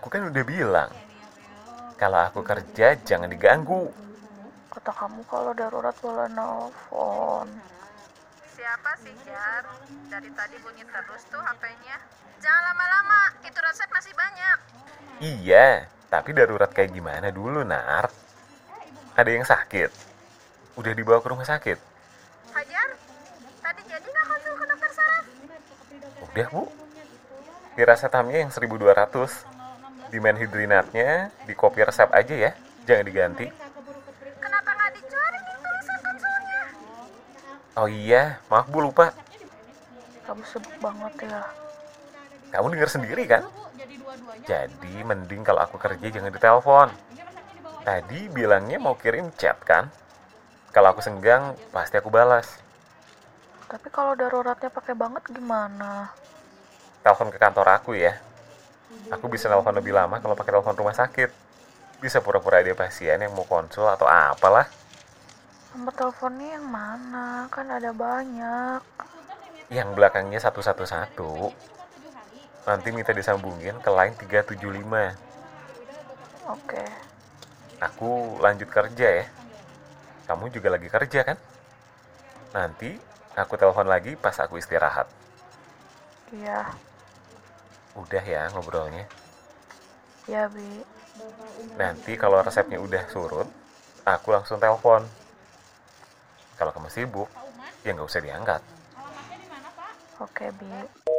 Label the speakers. Speaker 1: Aku kan udah bilang, kalau aku kerja jangan diganggu.
Speaker 2: Kata kamu kalau darurat boleh nelfon.
Speaker 3: Siapa sih Jar? Dari tadi bunyi terus tuh HP-nya. Jangan lama-lama, itu resep masih banyak.
Speaker 1: Iya, tapi darurat kayak gimana dulu, Nar? Ada yang sakit? Udah dibawa ke rumah sakit?
Speaker 3: Hajar, tadi jadi nggak konsul ke dokter saraf?
Speaker 1: Udah, Bu. Piracetamnya yang 1200. Dimen hidrinatnya, di kopi resep aja ya. Jangan diganti.
Speaker 3: Kenapa nggak dicari nih tulisan konsulnya?
Speaker 1: Oh iya, maaf Bu lupa.
Speaker 2: Kamu sibuk banget ya.
Speaker 1: Kamu dengar sendiri kan? Jadi mending kalau aku kerja jangan ditelepon. Tadi bilangnya mau kirim chat kan? Kalau aku senggang, pasti aku balas.
Speaker 2: Tapi kalau daruratnya pakai banget gimana?
Speaker 1: Telepon ke kantor aku ya. Aku bisa telepon lebih lama kalau pakai telepon rumah sakit. Bisa pura-pura ada pasien yang mau konsul atau apalah.
Speaker 2: Nomor teleponnya yang mana? Kan ada banyak.
Speaker 1: Yang belakangnya 111. Nanti minta disambungin ke line 375.
Speaker 2: Oke.
Speaker 1: Aku lanjut kerja ya. Kamu juga lagi kerja kan? Nanti aku telepon lagi pas aku istirahat.
Speaker 2: Iya.
Speaker 1: Udah ya ngobrolnya.
Speaker 2: Iya, Bi.
Speaker 1: Nanti kalau resepnya udah surut, aku langsung telepon. Kalau kamu sibuk, ya nggak usah diangkat.
Speaker 2: Oke, Bi.